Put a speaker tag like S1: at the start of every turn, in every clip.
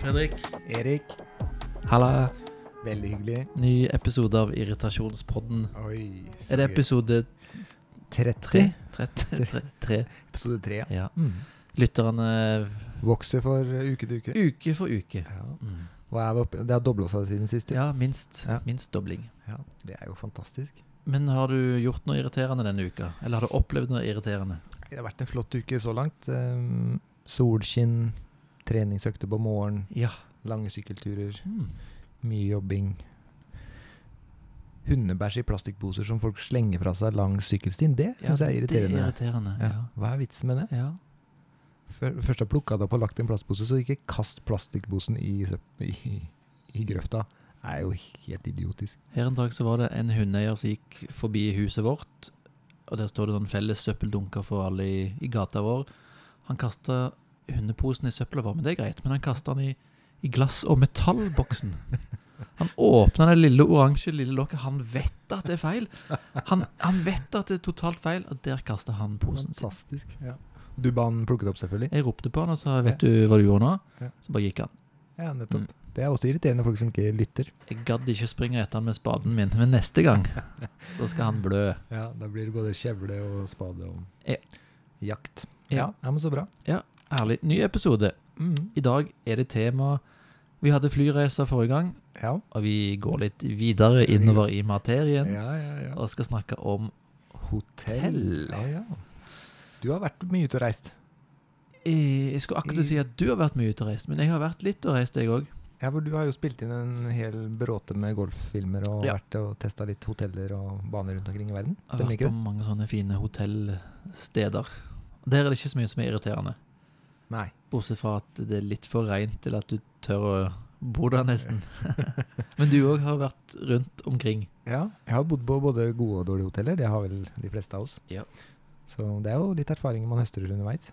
S1: Henrik.
S2: Erik,
S1: Halla.
S2: veldig hyggelig.
S1: Ny episode av Irritasjonspodden.
S2: Oi, så
S1: Er det
S2: gøy.
S1: episode
S2: 30?
S1: 3? 3?
S2: Episode 3, ja.
S1: Ja.
S2: Mm.
S1: Lytterne eh,
S2: Vokser for eh, uke til uke.
S1: uke for uke.
S2: Ja.
S1: Mm.
S2: Hva er vi oppe? Det har dobla seg siden sist. Ja.
S1: Ja, minst,
S2: Ja.
S1: minst dobling.
S2: Ja, det er jo fantastisk.
S1: Men har du gjort noe irriterende denne uka? Eller har du opplevd noe irriterende?
S2: Det har vært en flott uke så langt. Um, solskinn, treningsøkter på morgenen,
S1: Ja.
S2: lange sykkelturer,
S1: Mm.
S2: mye jobbing. Hundebæsj i plastikkposer som folk slenger fra seg langs sykkelstien, det syns jeg er
S1: Det
S2: irriterende.
S1: er irriterende,
S2: ja.
S1: ja.
S2: Hva er vitsen med det?
S1: ja.
S2: Før, først har jeg plukka det opp og lagt i en plastpose, så ikke kast plastikkposen i, søpp- i, i grøfta. Det er jo helt idiotisk.
S1: Her en dag så var det en hundeeier som gikk forbi huset vårt, og der står det sånn felles søppeldunker for alle i, i gata vår. Han kasta hundeposen i søpla vår, men det er greit, men han kasta den i, i glass- og metallboksen. Han åpna det lille oransje lille lokket, han vet at det er feil. Han, han vet at det er totalt feil, og der kasta han posen sin.
S2: Fantastisk. Ja. Du ba han plukke det opp, selvfølgelig?
S1: Jeg ropte på han og sa 'vet du hva du gjorde
S2: Ja.
S1: nå?' Så bare gikk han.
S2: Ja, nettopp. Mm. Det er også irriterende folk som ikke lytter.
S1: Jeg gadd ikke springe etter han med spaden min, men neste gang så skal han blø.
S2: Ja, Da blir det både kjevle og spade og
S1: Ja.
S2: jakt.
S1: Ja.
S2: Ja. ja, men så bra.
S1: Herlig. Ny episode.
S2: Mm.
S1: I dag er det tema Vi hadde flyreiser forrige gang,
S2: Ja.
S1: og vi går litt videre innover i
S2: ja,
S1: materien
S2: ja, ja.
S1: og skal snakke om
S2: Hotell. Ja, ja. Du har vært mye ute og reist.
S1: Eh, Jeg skulle akkurat si at du har vært mye ute og reist, men jeg har vært litt og reist, jeg òg.
S2: Ja, for Du har jo spilt inn en hel bråte med golffilmer og
S1: Ja.
S2: vært og testa litt hoteller og baner rundt omkring i verden.
S1: Jeg har
S2: Stemmer
S1: vært
S2: ikke
S1: på
S2: det?
S1: mange sånne fine hotellsteder. Der er det ikke så mye som er irriterende,
S2: Nei.
S1: bortsett fra at det er litt for reint til at du tør å bo der, nesten. men du òg har vært rundt omkring.
S2: Ja, jeg har bodd på både gode og dårlige hoteller. Det har vel de fleste av oss.
S1: Ja.
S2: Så det er jo litt erfaringer man høster underveis.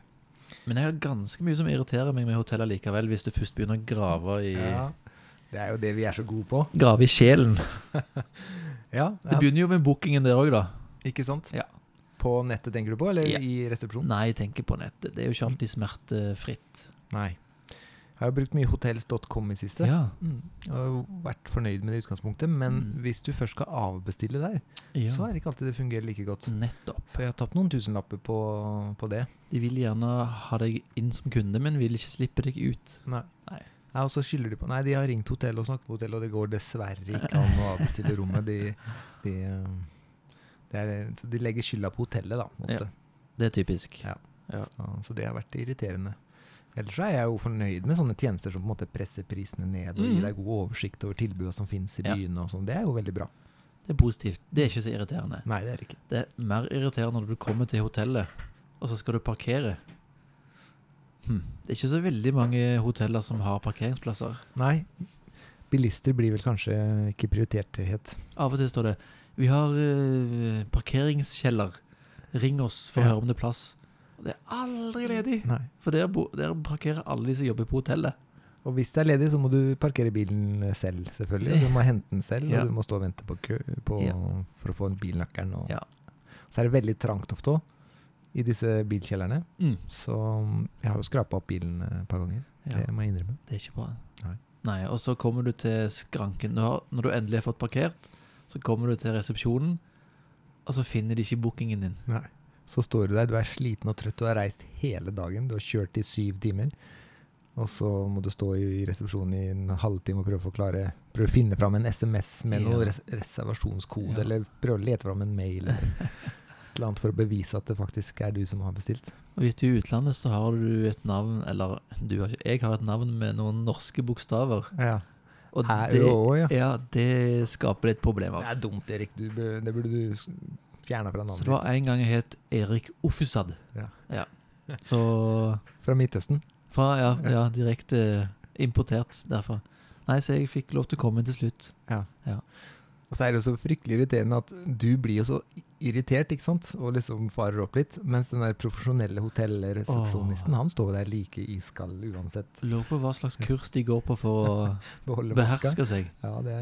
S1: Men jeg har ganske mye som irriterer meg med hotell likevel, hvis du først begynner å grave i
S2: Det er jo det vi er så gode på.
S1: Grave i sjelen.
S2: Ja,
S1: Det begynner jo med bookingen der òg, da.
S2: Ikke sant?
S1: Ja.
S2: På nettet tenker du på, eller
S1: Ja.
S2: i resepsjonen?
S1: Nei, jeg tenker på nettet. Det er jo ikke alltid smertefritt.
S2: Nei. Jeg har jo brukt mye hotels.com i siste.
S1: Ja.
S2: Mm. Og har jo vært fornøyd med det i utgangspunktet, men
S1: Mm.
S2: hvis du først skal avbestille der, så
S1: ja.
S2: er det ikke alltid det fungerer like godt.
S1: Nettopp.
S2: Så jeg har tapt noen tusenlapper på, på det.
S1: De vil gjerne ha deg inn som kunde, men vil ikke slippe deg ut.
S2: Nei.
S1: Nei.
S2: Ja, og så skylder de på Nei, de har ringt hotellet og snakket med hotellet, og det går dessverre ikke an å avbestille rommet. De, de, eh, det er, så de legger skylda på hotellet, da, ofte.
S1: Det er typisk.
S2: Ja.
S1: Ja.
S2: Så, så det har vært irriterende. Ellers så er jeg jo fornøyd med sånne tjenester som på en måte presser prisene ned og
S1: Mm.
S2: gir deg god oversikt over tilbudene som finnes i
S1: Ja.
S2: byene og sånn. Det er jo veldig bra.
S1: Det er positivt. Det er ikke så irriterende.
S2: Nei, det er det ikke.
S1: Det er mer irriterende når du kommer til hotellet, og så skal du parkere. Hm. Det er ikke så veldig mange hoteller som har parkeringsplasser.
S2: Nei. Bilister blir vel kanskje ikke prioritert helt.
S1: Av og til står det 'Vi har eh, parkeringskjeller. Ring oss for å
S2: Ja.
S1: høre om det er plass.' Og Det er aldri ledig.
S2: Nei.
S1: For der, bo, der parkerer alle de som jobber på hotellet.
S2: Og hvis det er ledig, så må du parkere bilen selv, selvfølgelig. Og Du må hente den selv,
S1: Ja.
S2: og du må stå og vente på kø på,
S1: Ja.
S2: for å få en bilnøkkelen. Og.
S1: Ja.
S2: Så er det veldig trangt ofte òg, i disse bilkjellerne.
S1: Mm.
S2: Så um, jeg har jo skrapa opp bilen eh, et par ganger,
S1: Ja,
S2: det må jeg innrømme.
S1: det er ikke bra.
S2: Nei.
S1: Nei, og så kommer du til skranken. Du har, når du endelig har fått parkert, så kommer du til resepsjonen, og så finner de ikke bookingen din.
S2: Så står du der, du er sliten og trøtt, du har reist hele dagen, du har kjørt i syv timer. Og så må du stå i i resepsjonen i en halvtime og prøve å forklare Prøve å finne fram en SMS med
S1: Ja.
S2: noen res reservasjonskode,
S1: Ja.
S2: eller prøve å lete fram en mail, eller et eller annet for å bevise at det faktisk er du som har bestilt.
S1: Og hvis du er i utlandet, så har du et navn, eller du har ikke, jeg har et navn med noen norske bokstaver.
S2: Ja.
S1: Og
S2: Æ, ø, å, ja.
S1: ja, det skaper litt
S2: Det
S1: problemer.
S2: er dumt, Erik. Du, bø- det burde du s- fjerna fra
S1: Så
S2: navnet
S1: det var
S2: ditt.
S1: en gang jeg het Erik Offisad.
S2: Ja.
S1: Så
S2: Fra Midtøsten.
S1: fra, ja, ja, direkte eh, importert derfra. Nei, så jeg fikk lov til å komme til slutt.
S2: Og så er det jo så fryktelig irriterende at du blir jo så irritert, ikke sant, og liksom farer opp litt, mens den der profesjonelle hotellresepsjonisten, han står der like iskald uansett.
S1: Lurer på hva slags kurs de går på for å
S2: Beholder maska.
S1: beherske seg.
S2: Ja, det,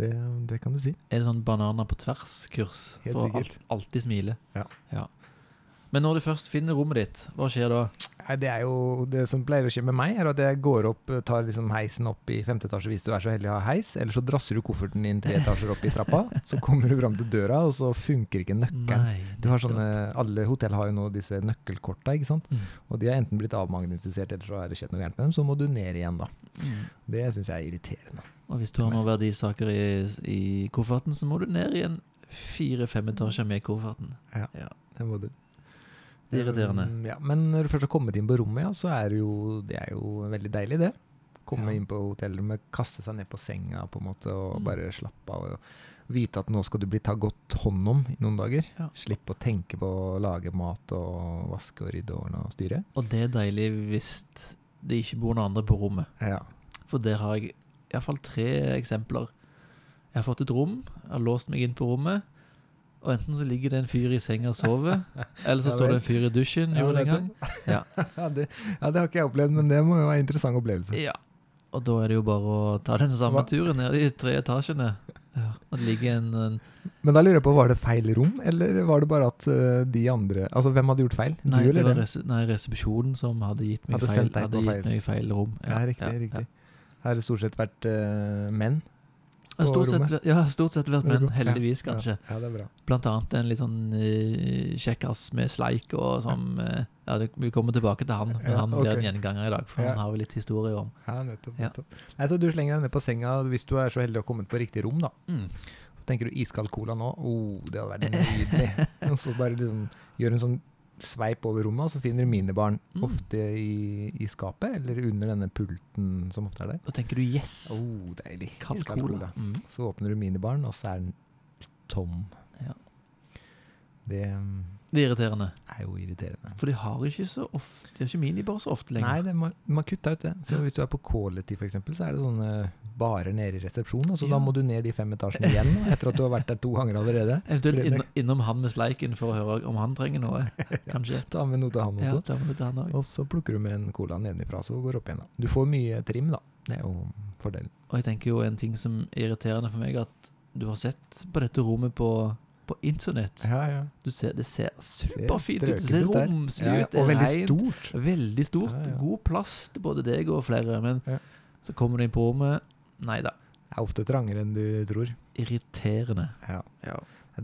S2: det, det kan du si.
S1: Er det sånn bananer på tvers-kurs?
S2: Helt
S1: For å
S2: sikkert.
S1: alt- alltid smile.
S2: Ja.
S1: Men når du først finner rommet ditt, hva skjer da?
S2: Nei, det er jo det som pleier å skje med meg, er at jeg går opp, tar liksom heisen opp i femte etasje hvis du er så heldig å ha heis, eller så drasser du kofferten din tre etasjer opp i trappa, så kommer du fram til døra, og så funker ikke nøkkelen. Du har sånne, alle hotell har jo nå disse nøkkelkorta, ikke sant?
S1: Mm.
S2: og de har enten blitt avmagnetisert eller så har det skjedd noe gærent med dem, så må du ned igjen da.
S1: Mm.
S2: Det syns jeg er irriterende.
S1: Og hvis du har noen verdisaker i, i kofferten, så må du ned igjen fire-fem etasjer med kofferten.
S2: Det må du.
S1: Det er irriterende.
S2: Um, Ja, men når du først har kommet inn på rommet, ja, så er det jo, det er jo veldig deilig, det. Komme
S1: Ja.
S2: inn på hotellrommet, kaste seg ned på senga på en måte, og
S1: Mm.
S2: bare slappe av. Og vite at nå skal du bli tatt godt hånd om i noen dager.
S1: Ja.
S2: Slippe å tenke på å lage mat og vaske og rydde og ordne og styre.
S1: Og det er deilig hvis det ikke bor noen andre på rommet.
S2: Ja.
S1: For der har jeg iallfall tre eksempler. Jeg har fått et rom, jeg har låst meg inn på rommet. Og enten så ligger det en fyr i senga og sover, eller så
S2: Ja
S1: står
S2: vel.
S1: det en fyr i dusjen.
S2: Ja,
S1: gjorde det en gang.
S2: nettopp. ja, det, ja, det har ikke jeg opplevd, men det må jo være en interessant opplevelse.
S1: Ja. Og da er det jo bare å ta den samme
S2: Hva-
S1: turen ned i tre etasjene. Ja. Og det ligger en, en
S2: Men da lurer jeg på, var det feil rom, eller var det bare at eh, de andre Altså, hvem hadde gjort feil?
S1: Nei,
S2: du
S1: det
S2: eller
S1: var
S2: dem?
S1: rese, nei, resepsjonen som hadde gitt meg,
S2: Hadde
S1: feil,
S2: sendt deg
S1: hadde
S2: på
S1: gitt
S2: feil.
S1: meg feil rom.
S2: Ja, riktig. riktig. Her har det stort sett vært eh, menn.
S1: Ja.
S2: på
S1: Stort, sett, ja, stort sett vært menn,
S2: Ja,
S1: heldigvis, kanskje.
S2: Ja, ja, det er bra.
S1: Blant annet en litt sånn eh, kjekkas med sleik og som eh, Ja, det, vi kommer tilbake til han, men
S2: Ja,
S1: han blir
S2: ok.
S1: en gjenganger i dag, for
S2: Ja.
S1: han har jo litt historie om.
S2: Ja, nettopp.
S1: Ja.
S2: nettopp. Nei, så du slenger deg ned på senga hvis du er så heldig å komme på riktig rom, da.
S1: Mm.
S2: Så tenker du iskald cola nå, oh, det hadde vært nydelig. Og så bare liksom gjør en sånn sveip over rommet, og så finner du minibaren.
S1: Mm.
S2: Ofte i, i skapet, eller under denne pulten som ofte er der.
S1: Da tenker du 'yes',
S2: Oh, deilig.
S1: kald cola. Mm.
S2: Så åpner du minibaren, og så er den tom.
S1: Ja.
S2: Det mm,
S1: Det er irriterende.
S2: er jo irriterende.
S1: For de har ikke så ofte De har ikke minibar så ofte lenger.
S2: Nei, det, man, man kutta ut det. Så Hvis du er på Quality, for eksempel, så er det sånne barer nede i resepsjonen. Så
S1: Ja.
S2: Da må du ned de fem etasjene igjen etter at du har vært der to ganger allerede.
S1: Eventuelt
S2: Fredrik.
S1: innom, innom han med sleiken for å høre om han trenger noe. Kanskje.
S2: Ta med noe til han
S1: Ja,
S2: også.
S1: da må vi ta han også.
S2: Og så plukker du med en cola nedenifra, så går du opp igjen. da. Du får mye trim, da. Det er jo fordelen.
S1: Og jeg tenker jo en ting som er irriterende for meg, at du har sett på dette rommet på, på internett.
S2: Ja, ja.
S1: Du ser, det ser
S2: Ser
S1: superfint ut. Det ser
S2: strøket ut der.
S1: romslig ut. det
S2: og
S1: er
S2: veldig
S1: rent,
S2: stort.
S1: Veldig stort.
S2: Ja, ja.
S1: God plass til både deg og flere. Men
S2: Ja.
S1: så kommer du inn på rommet. Nei da.
S2: Det er ofte trangere enn du tror.
S1: Irriterende.
S2: Ja.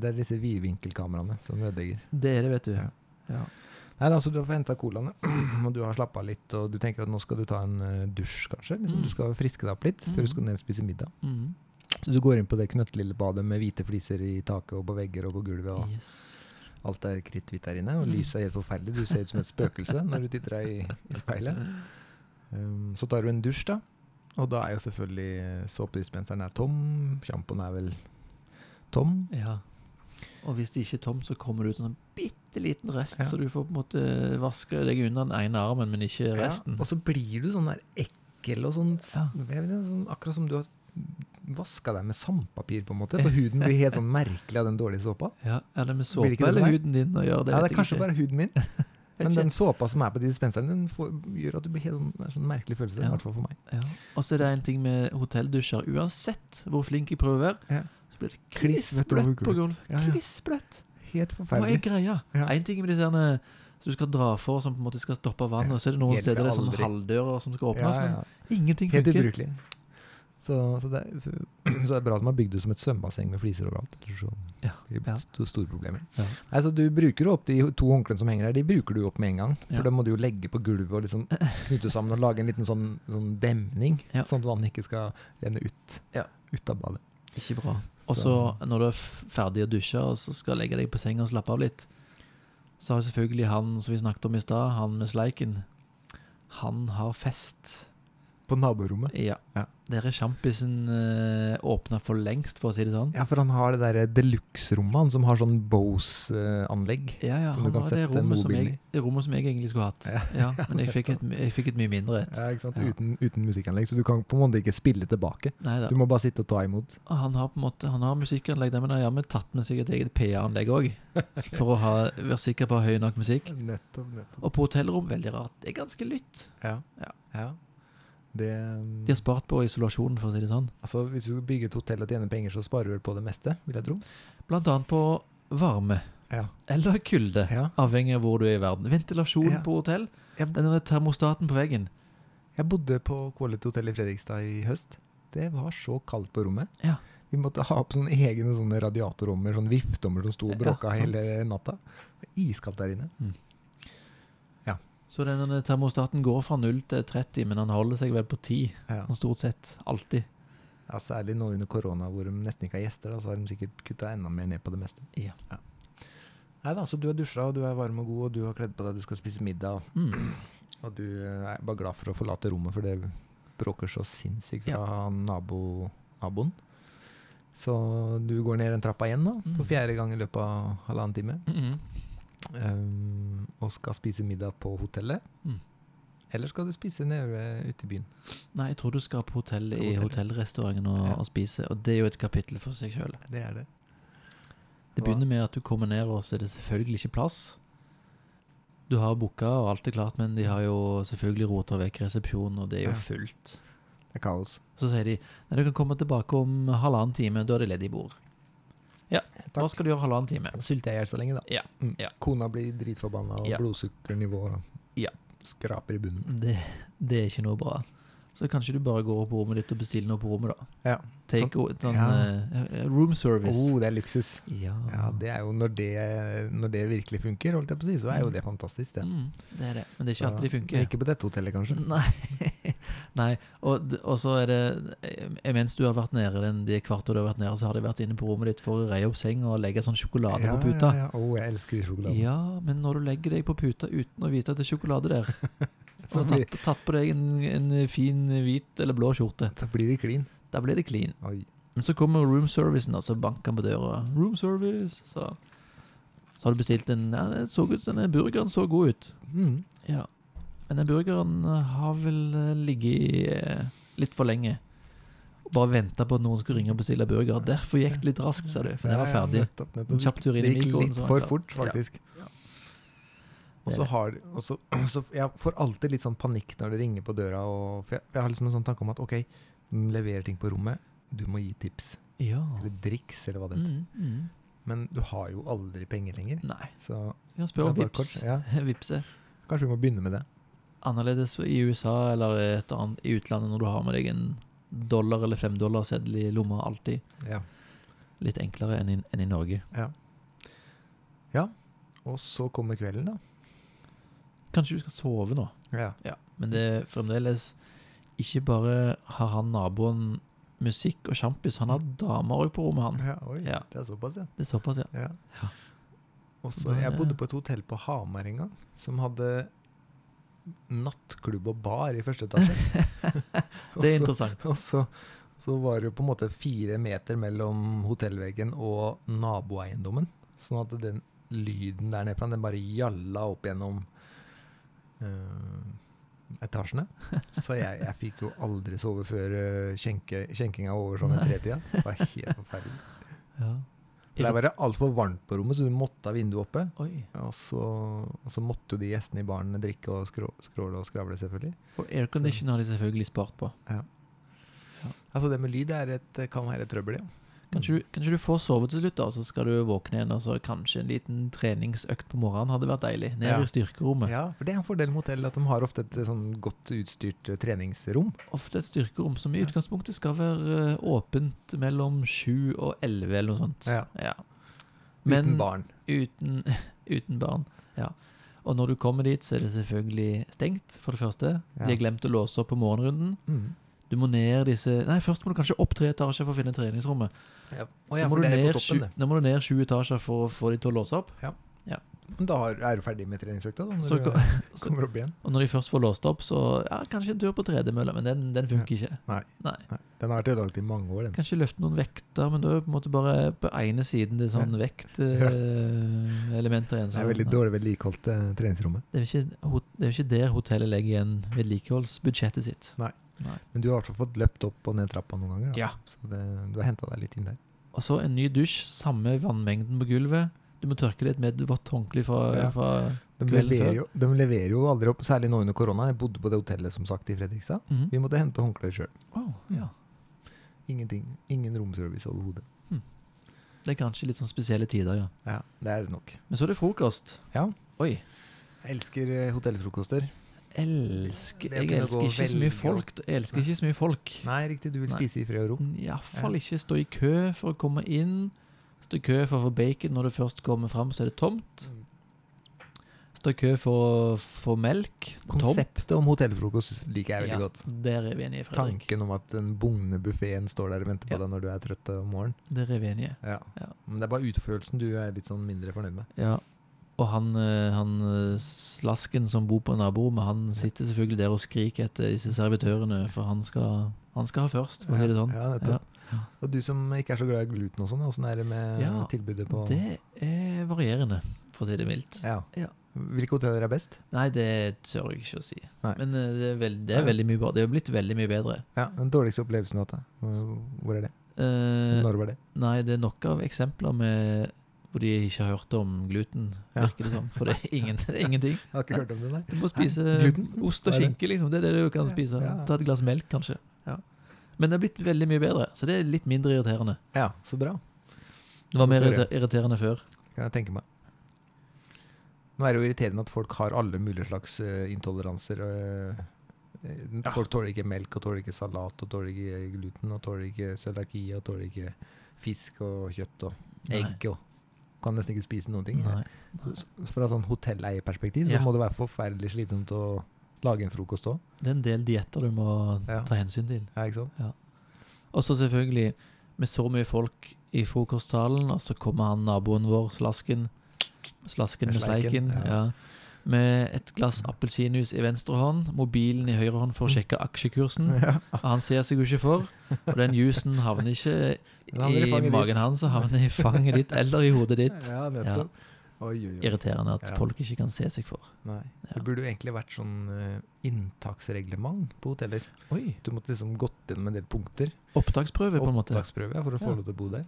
S2: Det er disse vidvinkelkameraene som ødelegger.
S1: Det er det, vet du.
S2: Ja.
S1: Ja.
S2: Nei, da, så du har fått henta colaene, og du har slappa av litt, og du tenker at nå skal du ta en eh, dusj, kanskje. Liksom,
S1: Mm.
S2: Du skal friske deg opp litt før du skal ned og spise middag.
S1: Mhm.
S2: Så du går inn på det knøttlille badet med hvite fliser i taket og på vegger og på gulvet, og
S1: Yes.
S2: alt er kritthvitt der inne. Og
S1: Mm.
S2: lyset er helt forferdelig. Du ser ut som et spøkelse når du titter deg i, i speilet. Um, så tar du en dusj, da. Og da er jo selvfølgelig eh, såpedispenseren er tom. Sjampoen er vel tom.
S1: Ja. Og hvis det ikke er tomt, så kommer det ut en sånn bitte liten rest,
S2: Ja.
S1: så du får på en måte vaske deg unna den ene armen, men ikke resten.
S2: Ja, og så blir du sånn der ekkel og sånn, s-
S1: Ja.
S2: jeg vet ikke, sånn Akkurat som du har vaska deg med sandpapir, på en måte. For huden blir helt sånn merkelig av den dårlige såpa.
S1: Ja, Er det med
S2: Blir det
S1: såpe
S2: ikke det
S1: eller
S2: der?
S1: huden din å gjøre det?
S2: ja,
S1: vet
S2: det er
S1: jeg
S2: kanskje
S1: ikke.
S2: bare huden min. Men
S1: Vet
S2: den såpa som er på dispenseren, den får, gjør at du blir helt sånn, det er sånn merkelig følelse.
S1: Ja.
S2: I hvert fall for meg.
S1: ja. Og så er det en ting med hotelldusjer. Uansett hvor flink jeg prøver å være,
S2: Ja.
S1: så blir det
S2: Kliss vett over
S1: klissbløtt på gulvet.
S2: Ja, ja.
S1: Klissbløtt!
S2: Helt
S1: Hva er
S2: forferdelig.
S1: greia?
S2: Ja.
S1: En ting med disse herne som du skal dra for, som på en måte skal stoppe vann,
S2: Ja,
S1: og så er det noen
S2: hjelper
S1: steder det er sånne
S2: aldri.
S1: halvdører som skal
S2: Ja,
S1: åpnes,
S2: ja.
S1: men ingenting
S2: Helt
S1: funker.
S2: ubrukelig. Så, så, det er, så, så det er bra at man har bygd det som et svømmebasseng med fliser overalt. Ellers så
S1: Ja,
S2: blir sånn det
S1: ja.
S2: sto- store problemer.
S1: Ja.
S2: Nei, så du bruker jo opp de to håndklærne som henger der, de bruker du jo opp med en gang. For
S1: Ja.
S2: da må du jo legge på gulvet og liksom knytte sammen og lage en liten sånn, sånn demning,
S1: Ja.
S2: sånn at vannet ikke skal renne ut,
S1: Ja.
S2: ut av badet.
S1: Ikke bra. Og så
S2: Så-
S1: når du er f- ferdig å dusje og så skal legge deg på senga og slappe av litt, så har jo selvfølgelig han som vi snakket om i stad, han med sleiken, han har fest.
S2: På naborommet.
S1: Ja.
S2: Ja.
S1: Der er sjampisen eh, åpna for lengst, for å si det sånn.
S2: Ja, for han har det derre deluxe-rommet, han som har sånn Bose-anlegg.
S1: Ja, ja,
S2: Som
S1: han
S2: du kan
S1: har det
S2: sette
S1: rommet som,
S2: mobilen
S1: jeg, det rommet som jeg egentlig skulle hatt. Ja, Men jeg fikk, et, jeg fikk et mye mindre et.
S2: Ja, ikke sant?
S1: Ja.
S2: Uten, uten musikkanlegg, så du kan på en måte ikke spille tilbake.
S1: Neida.
S2: Du må bare sitte og ta imot.
S1: Og Han har på en måte Han har musikkanlegg der, men han har jammen tatt med seg et eget PA-anlegg òg. For å ha, være sikker på høy nok musikk.
S2: Nettopp, nettopp.
S1: Og på hotellrom, veldig rart. Det er ganske lytt.
S2: Ja.
S1: Ja.
S2: Det, mm,
S1: De har spart på isolasjonen, for å si det sånn.
S2: altså, hvis du skal bygge et hotell og tjene penger, så sparer du vel på det meste, vil jeg tro.
S1: Blant annet på varme.
S2: Ja.
S1: eller kulde,
S2: Ja.
S1: avhengig av hvor du er i verden. Ventilasjon
S2: Ja.
S1: på hotell,
S2: Ja.
S1: den der termostaten på veggen.
S2: Jeg bodde på Quality Hotel i Fredrikstad i høst. Det var så kaldt på rommet.
S1: Ja.
S2: Vi måtte ha opp sånne egne sånne radiatorommer, sånne vifteommer som sto og
S1: Ja,
S2: bråka
S1: sant.
S2: hele natta. Det var Iskaldt der inne.
S1: Så den der termostaten går fra 0 til 30, men han holder seg vel på 10,
S2: Ja.
S1: sånn stort sett alltid.
S2: Ja, Særlig nå under korona hvor de nesten ikke har gjester, da, så har de sikkert kutta enda mer ned på det meste.
S1: Ja.
S2: Nei da, så du har dusja, og du er varm og god, og du har kledd på deg, du skal spise middag,
S1: Mm.
S2: og du eh, er bare glad for å forlate rommet, for det bråker så sinnssykt fra nabo, naboen. Så du går ned den trappa igjen, da,
S1: Mm.
S2: for fjerde gang i løpet av halvannen time.
S1: Mm -mm.
S2: Ehm, og skal spise middag på hotellet.
S1: Mm.
S2: Eller skal du spise nede ute i byen?
S1: Nei, jeg tror du skal på hotell
S2: På
S1: i
S2: hotell.
S1: hotellrestauranten og,
S2: Ja.
S1: og spise, og det er jo et kapittel for seg sjøl.
S2: Det er det.
S1: Det
S2: Hva-
S1: begynner med at du kommer ned, og så er det selvfølgelig ikke plass. Du har booka, og alt er klart, men de har jo selvfølgelig rota vekk resepsjonen, og det er
S2: Ja.
S1: jo fullt.
S2: Det er kaos.
S1: Så sier de nei, du kan komme tilbake om halvannen time, da er det ledig bord. Ja, hva skal du gjøre halvannen time?
S2: Da sulter jeg i hjel så lenge, da.
S1: Ja,
S2: Mm.
S1: ja.
S2: Kona blir dritforbanna, og
S1: Ja.
S2: blodsukkernivået
S1: Ja.
S2: skraper i bunnen.
S1: Det, det er ikke noe bra. Så kanskje du bare går opp på rommet ditt og bestiller noe på rommet, da.
S2: Ja.
S1: Take o- sånn, eh, room service.
S2: Oh, det er luksus.
S1: ja.
S2: Ja, det er jo når det, når det virkelig funker, holdt jeg på å si, så er jo
S1: Mm.
S2: det fantastisk, det.
S1: Mm, det er det. Men det er ikke
S2: Så-
S1: alltid det
S2: Men
S1: funker.
S2: Ikke på dette hotellet, kanskje.
S1: Nei. Nei. Og, d- og så er det eh, Mens du har vært nede den, de kvarter du har vært nede, så har de vært inne på rommet ditt for å reie opp seng og legge sånn sjokolade
S2: ja,
S1: på puta.
S2: Ja, ja. Å, jeg elsker
S1: Ja,
S2: sjokolade.
S1: men når du legger deg på puta uten å vite at det er sjokolade der, og
S2: Så
S1: har
S2: blir,
S1: tatt, tatt på deg en, en fin hvit eller blå skjorte,
S2: så blir det klin.
S1: da blir det clean.
S2: Oi.
S1: Men så kommer room servicen, og så banker han på døra. Room service, så Så har du bestilt en ja, det så ut, Denne burgeren så god ut.
S2: Mm.
S1: Ja. Men den burgeren eh, har vel eh, ligget i, eh, litt for lenge. Og Bare venta på at noen skulle ringe og bestille burger. Derfor gikk det litt raskt, sa du. For den var
S2: Ja, ja,
S1: ferdig.
S2: nettopp, nettopp.
S1: En kjapp tur inn i
S2: Det gikk
S1: mikroen,
S2: litt
S1: så var
S2: for
S1: den klar.
S2: fort, faktisk.
S1: Ja.
S2: Og
S1: Det er
S2: så
S1: det.
S2: har de- og så, så Jeg får alltid litt sånn panikk når det ringer på døra. Og, for jeg, jeg har liksom en sånn tanke om at OK, de leverer ting på rommet. Du må gi tips.
S1: Ja.
S2: Eller driks, eller hva det heter.
S1: Mm, mm.
S2: Men du har jo aldri penger lenger.
S1: Nei.
S2: Så
S1: Vi kan spørre om
S2: det er bare
S1: vips.
S2: kort, ja.
S1: Vipse.
S2: kanskje vi må begynne med det.
S1: Annerledes i USA eller et annet i utlandet når du har med deg en dollar eller femdollarseddel i lomma alltid.
S2: Ja.
S1: Litt enklere enn i, enn i Norge.
S2: Og så kommer kvelden, da.
S1: Kanskje du skal sove nå?
S2: Ja.
S1: Ja, men det er fremdeles Ikke bare har han naboen musikk og sjampis, han
S2: Mm.
S1: har damer òg på rommet, han.
S2: ja oi,
S1: Ja.
S2: det er såpass, ja.
S1: Det er såpass, ja.
S2: Ja.
S1: Ja. Da
S2: Og så,
S1: er
S2: jeg
S1: det-
S2: bodde på et hotell på Hamar en gang som hadde nattklubb og bar i første etasje. Og
S1: Det er
S2: så-
S1: interessant.
S2: Og så, så var det jo på en måte fire meter mellom hotellveggen og naboeiendommen. Sånn at den lyden der nede fra, den bare gjalla opp gjennom eh, etasjene. Så jeg, jeg fikk jo aldri sove før eh, skjenke, skjenkinga var over sånn i
S1: Nei.
S2: tretida. Det var helt forferdelig.
S1: Ja.
S2: For Der var det altfor varmt på rommet, så du måtte ha vinduet oppe.
S1: Oi.
S2: Og så, og så måtte jo de gjestene i baren drikke og skrå, skråle og skravle, selvfølgelig.
S1: Og aircondition har de selvfølgelig spart på.
S2: Altså det med lyd er et, kan være et trøbbel, ja.
S1: Kanskje
S2: Mm.
S1: du, kanskje du får sove til slutt, da, og så skal du våkne igjen, og så kanskje en liten treningsøkt på morgenen hadde vært deilig. Ned
S2: Ja.
S1: i styrkerommet.
S2: Ja, for det er en fordel med hotell at de har ofte et eh, sånn godt utstyrt eh, treningsrom.
S1: Ofte et styrkerom som i
S2: Ja.
S1: utgangspunktet skal være eh, åpent mellom sju og elleve, eller noe sånt.
S2: Ja.
S1: Men,
S2: uten barn.
S1: uten, uten barn. Ja. Og når du kommer dit, så er det selvfølgelig stengt, for det første.
S2: Ja.
S1: De har glemt å låse opp på morgenrunden.
S2: Mm.
S1: Du må ned disse Nei, først må du kanskje opp tre etasjer for å finne treningsrommet.
S2: Og
S1: Så
S2: ja,
S1: må
S2: for
S1: du
S2: det er
S1: ned
S2: på
S1: sju,
S2: toppen, det.
S1: da må du ned sju etasjer for å få de til å låse opp.
S2: Men da har- er du ferdig med treningsøkta, da, når
S1: Så
S2: du
S1: ko-
S2: eh,
S1: så-
S2: kommer opp igjen.
S1: Og når de først får låst opp, så ja, kanskje en tur på tredemølla, men den, den funker ikke.
S2: Nei. Den har vært ødelagt i mange år, den.
S1: Kanskje løfte noen vekter, men da er det på en måte bare på ene siden det er sånn eh, vektelementer igjen.
S2: Det
S1: så-
S2: er veldig
S1: ja.
S2: dårlig vedlikeholdt eh, treningsrommet.
S1: Det er jo ikke, hot- det er jo ikke der hotellet legger igjen vedlikeholdsbudsjettet sitt.
S2: Men du har i hvert fall fått løpt opp og ned trappa noen ganger. Da.
S1: Ja.
S2: Så det, du har henta deg litt inn der.
S1: Og så en ny dusj, samme vannmengden på gulvet. Du må tørke det med et vått håndkle fra,
S2: Ja.
S1: fra
S2: De
S1: Kvelden før.
S2: leverer, jo, de leverer jo aldri opp, særlig nå under korona. Jeg bodde på det hotellet som sagt i Fredrikstad.
S1: Mhm.
S2: Vi Mm. måtte hente håndklær sjøl.
S1: Å, ja.
S2: Ingenting. Ingen romservice overhodet.
S1: Hmm. Det er kanskje litt sånn spesielle tider, ja.
S2: Ja, det er det nok.
S1: Men så er det frokost.
S2: Ja.
S1: Oi.
S2: Jeg elsker eh, hotellfrokoster.
S1: Elsker,
S2: Det å
S1: jeg
S2: kunne
S1: elsker
S2: gå
S1: ikke så mye
S2: veldig
S1: folk. Jeg elsker ikke så mye folk.
S2: Nei, riktig. Du vil
S1: Nei.
S2: spise i fred og ro.
S1: Iallfall ikke stå i kø for å komme inn. Stå i kø for å få bacon. Når du først kommer fram, så er det tomt. Stå i kø for å få melk. Tomt.
S2: Konseptet om hotellfrokost liker jeg veldig
S1: Ja,
S2: godt.
S1: Der er vi enige, Fredrik.
S2: Tanken om at den bugne buffeen står der og venter på
S1: Ja.
S2: deg når du er trøtt om morgenen.
S1: Der er vi enige.
S2: Ja.
S1: Ja.
S2: Men det er bare utførelsen du er litt sånn mindre fornøyd med.
S1: Ja. Og han, eh, han eh, slasken som bor på naborommet, han sitter selvfølgelig der og skriker etter disse servitørene, for han skal, han skal ha først, for å si det sånn.
S2: Ja, nettopp. Og du som ikke er så glad i gluten og sånn, åssen er det med
S1: Ja,
S2: tilbudet på
S1: Det er varierende, for å si det mildt.
S2: Ja.
S1: Ja.
S2: Hvilke hoteller er best?
S1: Nei, det tør jeg ikke å si.
S2: Nei.
S1: Men eh, det er, veld, det er veldig mye bra. Det er blitt veldig mye bedre.
S2: Ja, Den dårligste opplevelsen du har hatt? da? Hvor- Hvor er det?
S1: Eh,
S2: Når var det?
S1: Nei, det er nok av eksempler med hvor de ikke har hørt om gluten,
S2: Ja.
S1: virker det som. For det er, ingen, det er ingenting.
S2: Jeg har ikke hørt om det, nei.
S1: Du må spise
S2: gluten?
S1: ost og
S2: Hva er det?
S1: skinke, liksom. Det er det du kan
S2: Ja,
S1: spise.
S2: ja.
S1: Ta et glass melk, kanskje. Men det er blitt veldig mye bedre, så det er litt mindre irriterende.
S2: Ja, så bra.
S1: Det var mer
S2: Godt å høre.
S1: irriter- irriterende før.
S2: Det kan jeg tenke meg. Nå er det jo irriterende at folk har alle mulige slags eh, intoleranser. eh, eh, Folk tåler ikke melk, og tåler ikke salat, og tåler ikke gluten, og tåler ikke cøliaki, og tåler ikke fisk og kjøtt og
S1: Nei.
S2: egg og Kan nesten ikke spise noen ting.
S1: Nei.
S2: S- Fra sånn hotelleierperspektiv så
S1: Ja.
S2: må det være forferdelig slitsomt å lage en frokost òg.
S1: Det er en del dietter du må
S2: Ja.
S1: ta hensyn til.
S2: Ja, ikke sant?
S1: Og så selvfølgelig, med så mye folk i frokostsalen, og så kommer han naboen vår, Slasken. Slasken med
S2: Sleiken,
S1: sleiken.
S2: ja.
S1: Ja. Med et glass appelsinjuice i venstre hånd, mobilen i høyre hånd for å sjekke aksjekursen.
S2: Mm.
S1: Og han ser seg jo ikke for, og den juicen havner ikke
S2: Den havner i
S1: i
S2: fanget ditt.
S1: magen hans, og havner i fanget ditt eller i hodet ditt.
S2: Ja, nettopp. Oi, oi, oi.
S1: Irriterende at
S2: Ja.
S1: folk ikke kan se seg for.
S2: Nei.
S1: Ja.
S2: Det burde jo egentlig vært sånn eh, inntaksreglement på hoteller.
S1: Oi.
S2: Du måtte liksom gått gjennom en del punkter.
S1: Opptaksprøve, på en måte.
S2: Opptaksprøve ja, for å få
S1: Ja.
S2: lov til å bo der.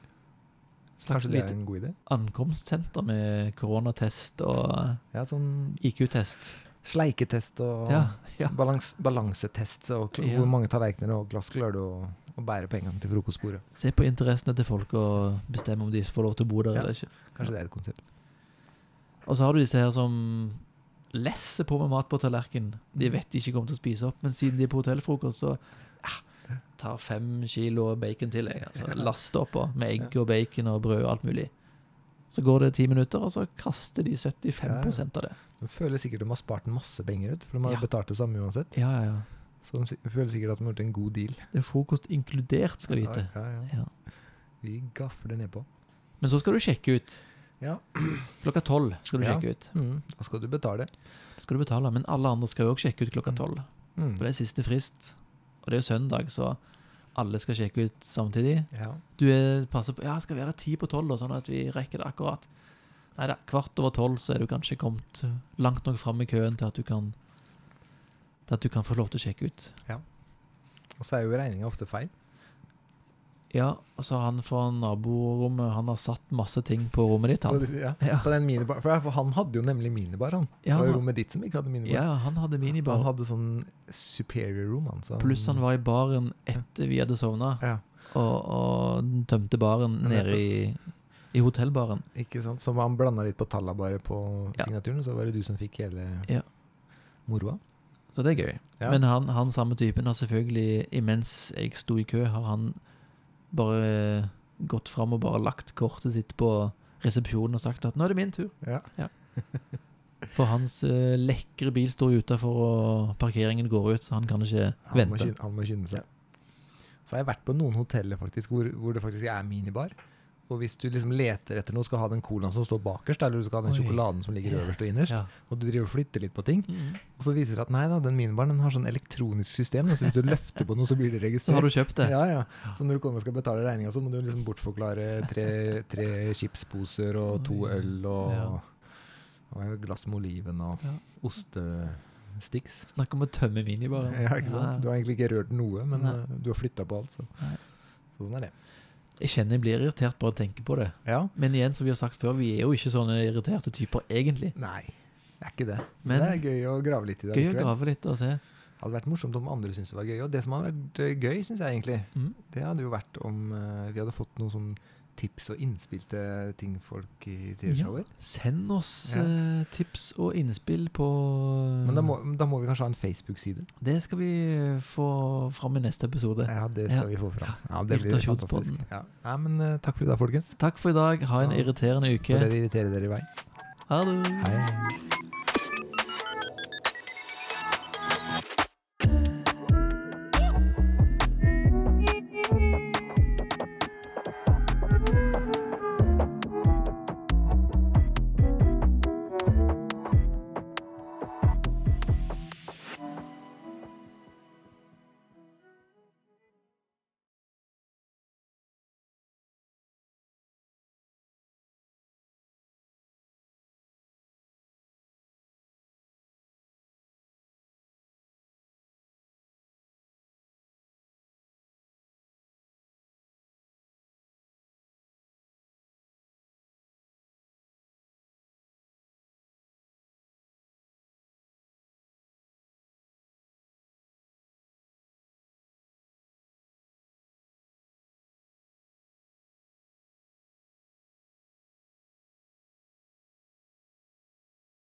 S1: Slags
S2: Kanskje det er
S1: lite
S2: en god idé?
S1: ankomstsenter med koronatest og
S2: Ja, sånn
S1: IQ-test.
S2: sleiketest og
S1: Ja, ja.
S2: Balans, balansetest. Så kl-
S1: Ja.
S2: hvor mange tallerkener og glass klarer du å, å bære på en gang til frokostbordet?
S1: Se på interessene til folk og bestemme om de får lov til å bo der
S2: Ja.
S1: eller ikke.
S2: Kanskje det er et konsept.
S1: Og så har du disse her som lesser på med mat på tallerkenen. De
S2: Mm.
S1: vet de ikke kommer til å spise opp, men siden de er på hotellfrokost, så ja, tar fem kilo bacon til. Jeg, altså, laster oppå med egg og bacon og brød og alt mulig. Så går det ti minutter, og så kaster de 75 av det.
S2: De føler sikkert de har spart masse penger, ut, for de har
S1: Ja.
S2: betalt det samme uansett.
S1: Ja, ja, ja.
S2: Så de si- føler sikkert at de har gjort en god deal.
S1: Det er frokost inkludert, skal du vite.
S2: Ja, ja, ja.
S1: Ja.
S2: Vi gaffer det nedpå.
S1: Men så skal du sjekke ut.
S2: Ja.
S1: Klokka tolv skal du
S2: Ja.
S1: sjekke ut.
S2: Mm. Da skal du betale.
S1: Da skal du betale, men alle andre skal jo også sjekke ut klokka tolv.
S2: Mm.
S1: For det er siste frist, og det er jo søndag, så alle skal sjekke ut samtidig.
S2: Ja.
S1: Du er, passer på Ja, skal være ti på tolv, da, sånn at vi rekker det akkurat. Nei da, kvart over tolv så er du kanskje kommet langt nok fram i køen til at du kan Til at du kan få lov til å sjekke ut.
S2: Og så er jo regninga ofte feil.
S1: Ja, og så han fra naborommet, han har satt masse ting på rommet ditt,
S2: På,
S1: han.
S2: ja.
S1: Ja,
S2: på den minibar. For, for han hadde jo nemlig minibar, han.
S1: ja,
S2: det var jo
S1: han,
S2: rommet ditt som ikke hadde minibar.
S1: ja han hadde
S2: Han
S1: minibar.
S2: hadde sånn superior room, han. Så
S1: Pluss han var i baren etter vi hadde sovna,
S2: Ja,
S1: og, og tømte baren nede i, i hotellbaren.
S2: ikke sant? Så han blanda litt på talla bare på
S1: Ja.
S2: signaturen, så var det du som fikk hele
S1: Ja.
S2: moroa.
S1: Så det er gøy.
S2: Ja.
S1: Men han, han samme typen har selvfølgelig, imens jeg sto i kø, har han bare eh, gått fram og bare lagt kortet sitt på resepsjonen og sagt at nå er det min tur.
S2: Ja.
S1: For hans eh, lekre bil står jo utafor, og parkeringen går ut, så han kan ikke
S2: Han, må
S1: vente.
S2: skynde, han må skynde seg. Så har jeg vært på noen hoteller faktisk hvor, hvor det faktisk er minibar. Og hvis du liksom leter etter noe, skal ha den colaen som står bakerst, eller du skal ha den
S1: Oi.
S2: sjokoladen som ligger
S1: Ja.
S2: øverst og innerst,
S1: Ja.
S2: og du driver og flytter litt på ting,
S1: Mm.
S2: og så viser det seg at nei da, den minibaren den har sånn elektronisk system, så hvis du løfter på noe, så blir det
S1: Så
S2: registrert.
S1: har du kjøpt det.
S2: Ja, ja. Så når du kommer og skal betale regninga, så må du liksom bortforklare tre, tre chipsposer og to
S1: Oi.
S2: øl og,
S1: Ja.
S2: og et glass med oliven og
S1: Ja.
S2: ostesticks.
S1: Snakk om å tømme minibaren.
S2: Ja, ikke sant? Du har egentlig ikke rørt noe, men
S1: Nei.
S2: eh, du har flytta på alt. Så.
S1: Nei.
S2: så sånn er det.
S1: Jeg kjenner jeg blir irritert bare av å tenke på det.
S2: Ja.
S1: Men igjen, som vi har sagt før, vi er jo ikke sånne irriterte typer egentlig.
S2: Nei, det er ikke det. Men
S1: Men
S2: det er gøy å grave litt i det.
S1: gøy å
S2: likevel.
S1: grave litt og se.
S2: hadde vært morsomt om andre syntes det var gøy. Og det som hadde vært eh, gøy, syns jeg egentlig,
S1: Mm.
S2: det hadde jo vært om eh, vi hadde fått noen sånn tips og innspill til ting folk i tidershowet.
S1: Send oss
S2: Ja.
S1: eh, tips og innspill på
S2: Men da må, da må vi kanskje ha en Facebook-side.
S1: Det skal vi eh, få fram i neste episode.
S2: Ja, det skal vi få fram. Ja, det blir
S1: Irritasjonspodden.
S2: fantastisk. Ja. Nei, men eh, takk for i dag, folkens.
S1: Takk for i dag. Ha en
S2: Så-
S1: irriterende
S2: Sånn. For
S1: uke.
S2: dere irriterer dere i vei.
S1: Ha det.
S2: Hei.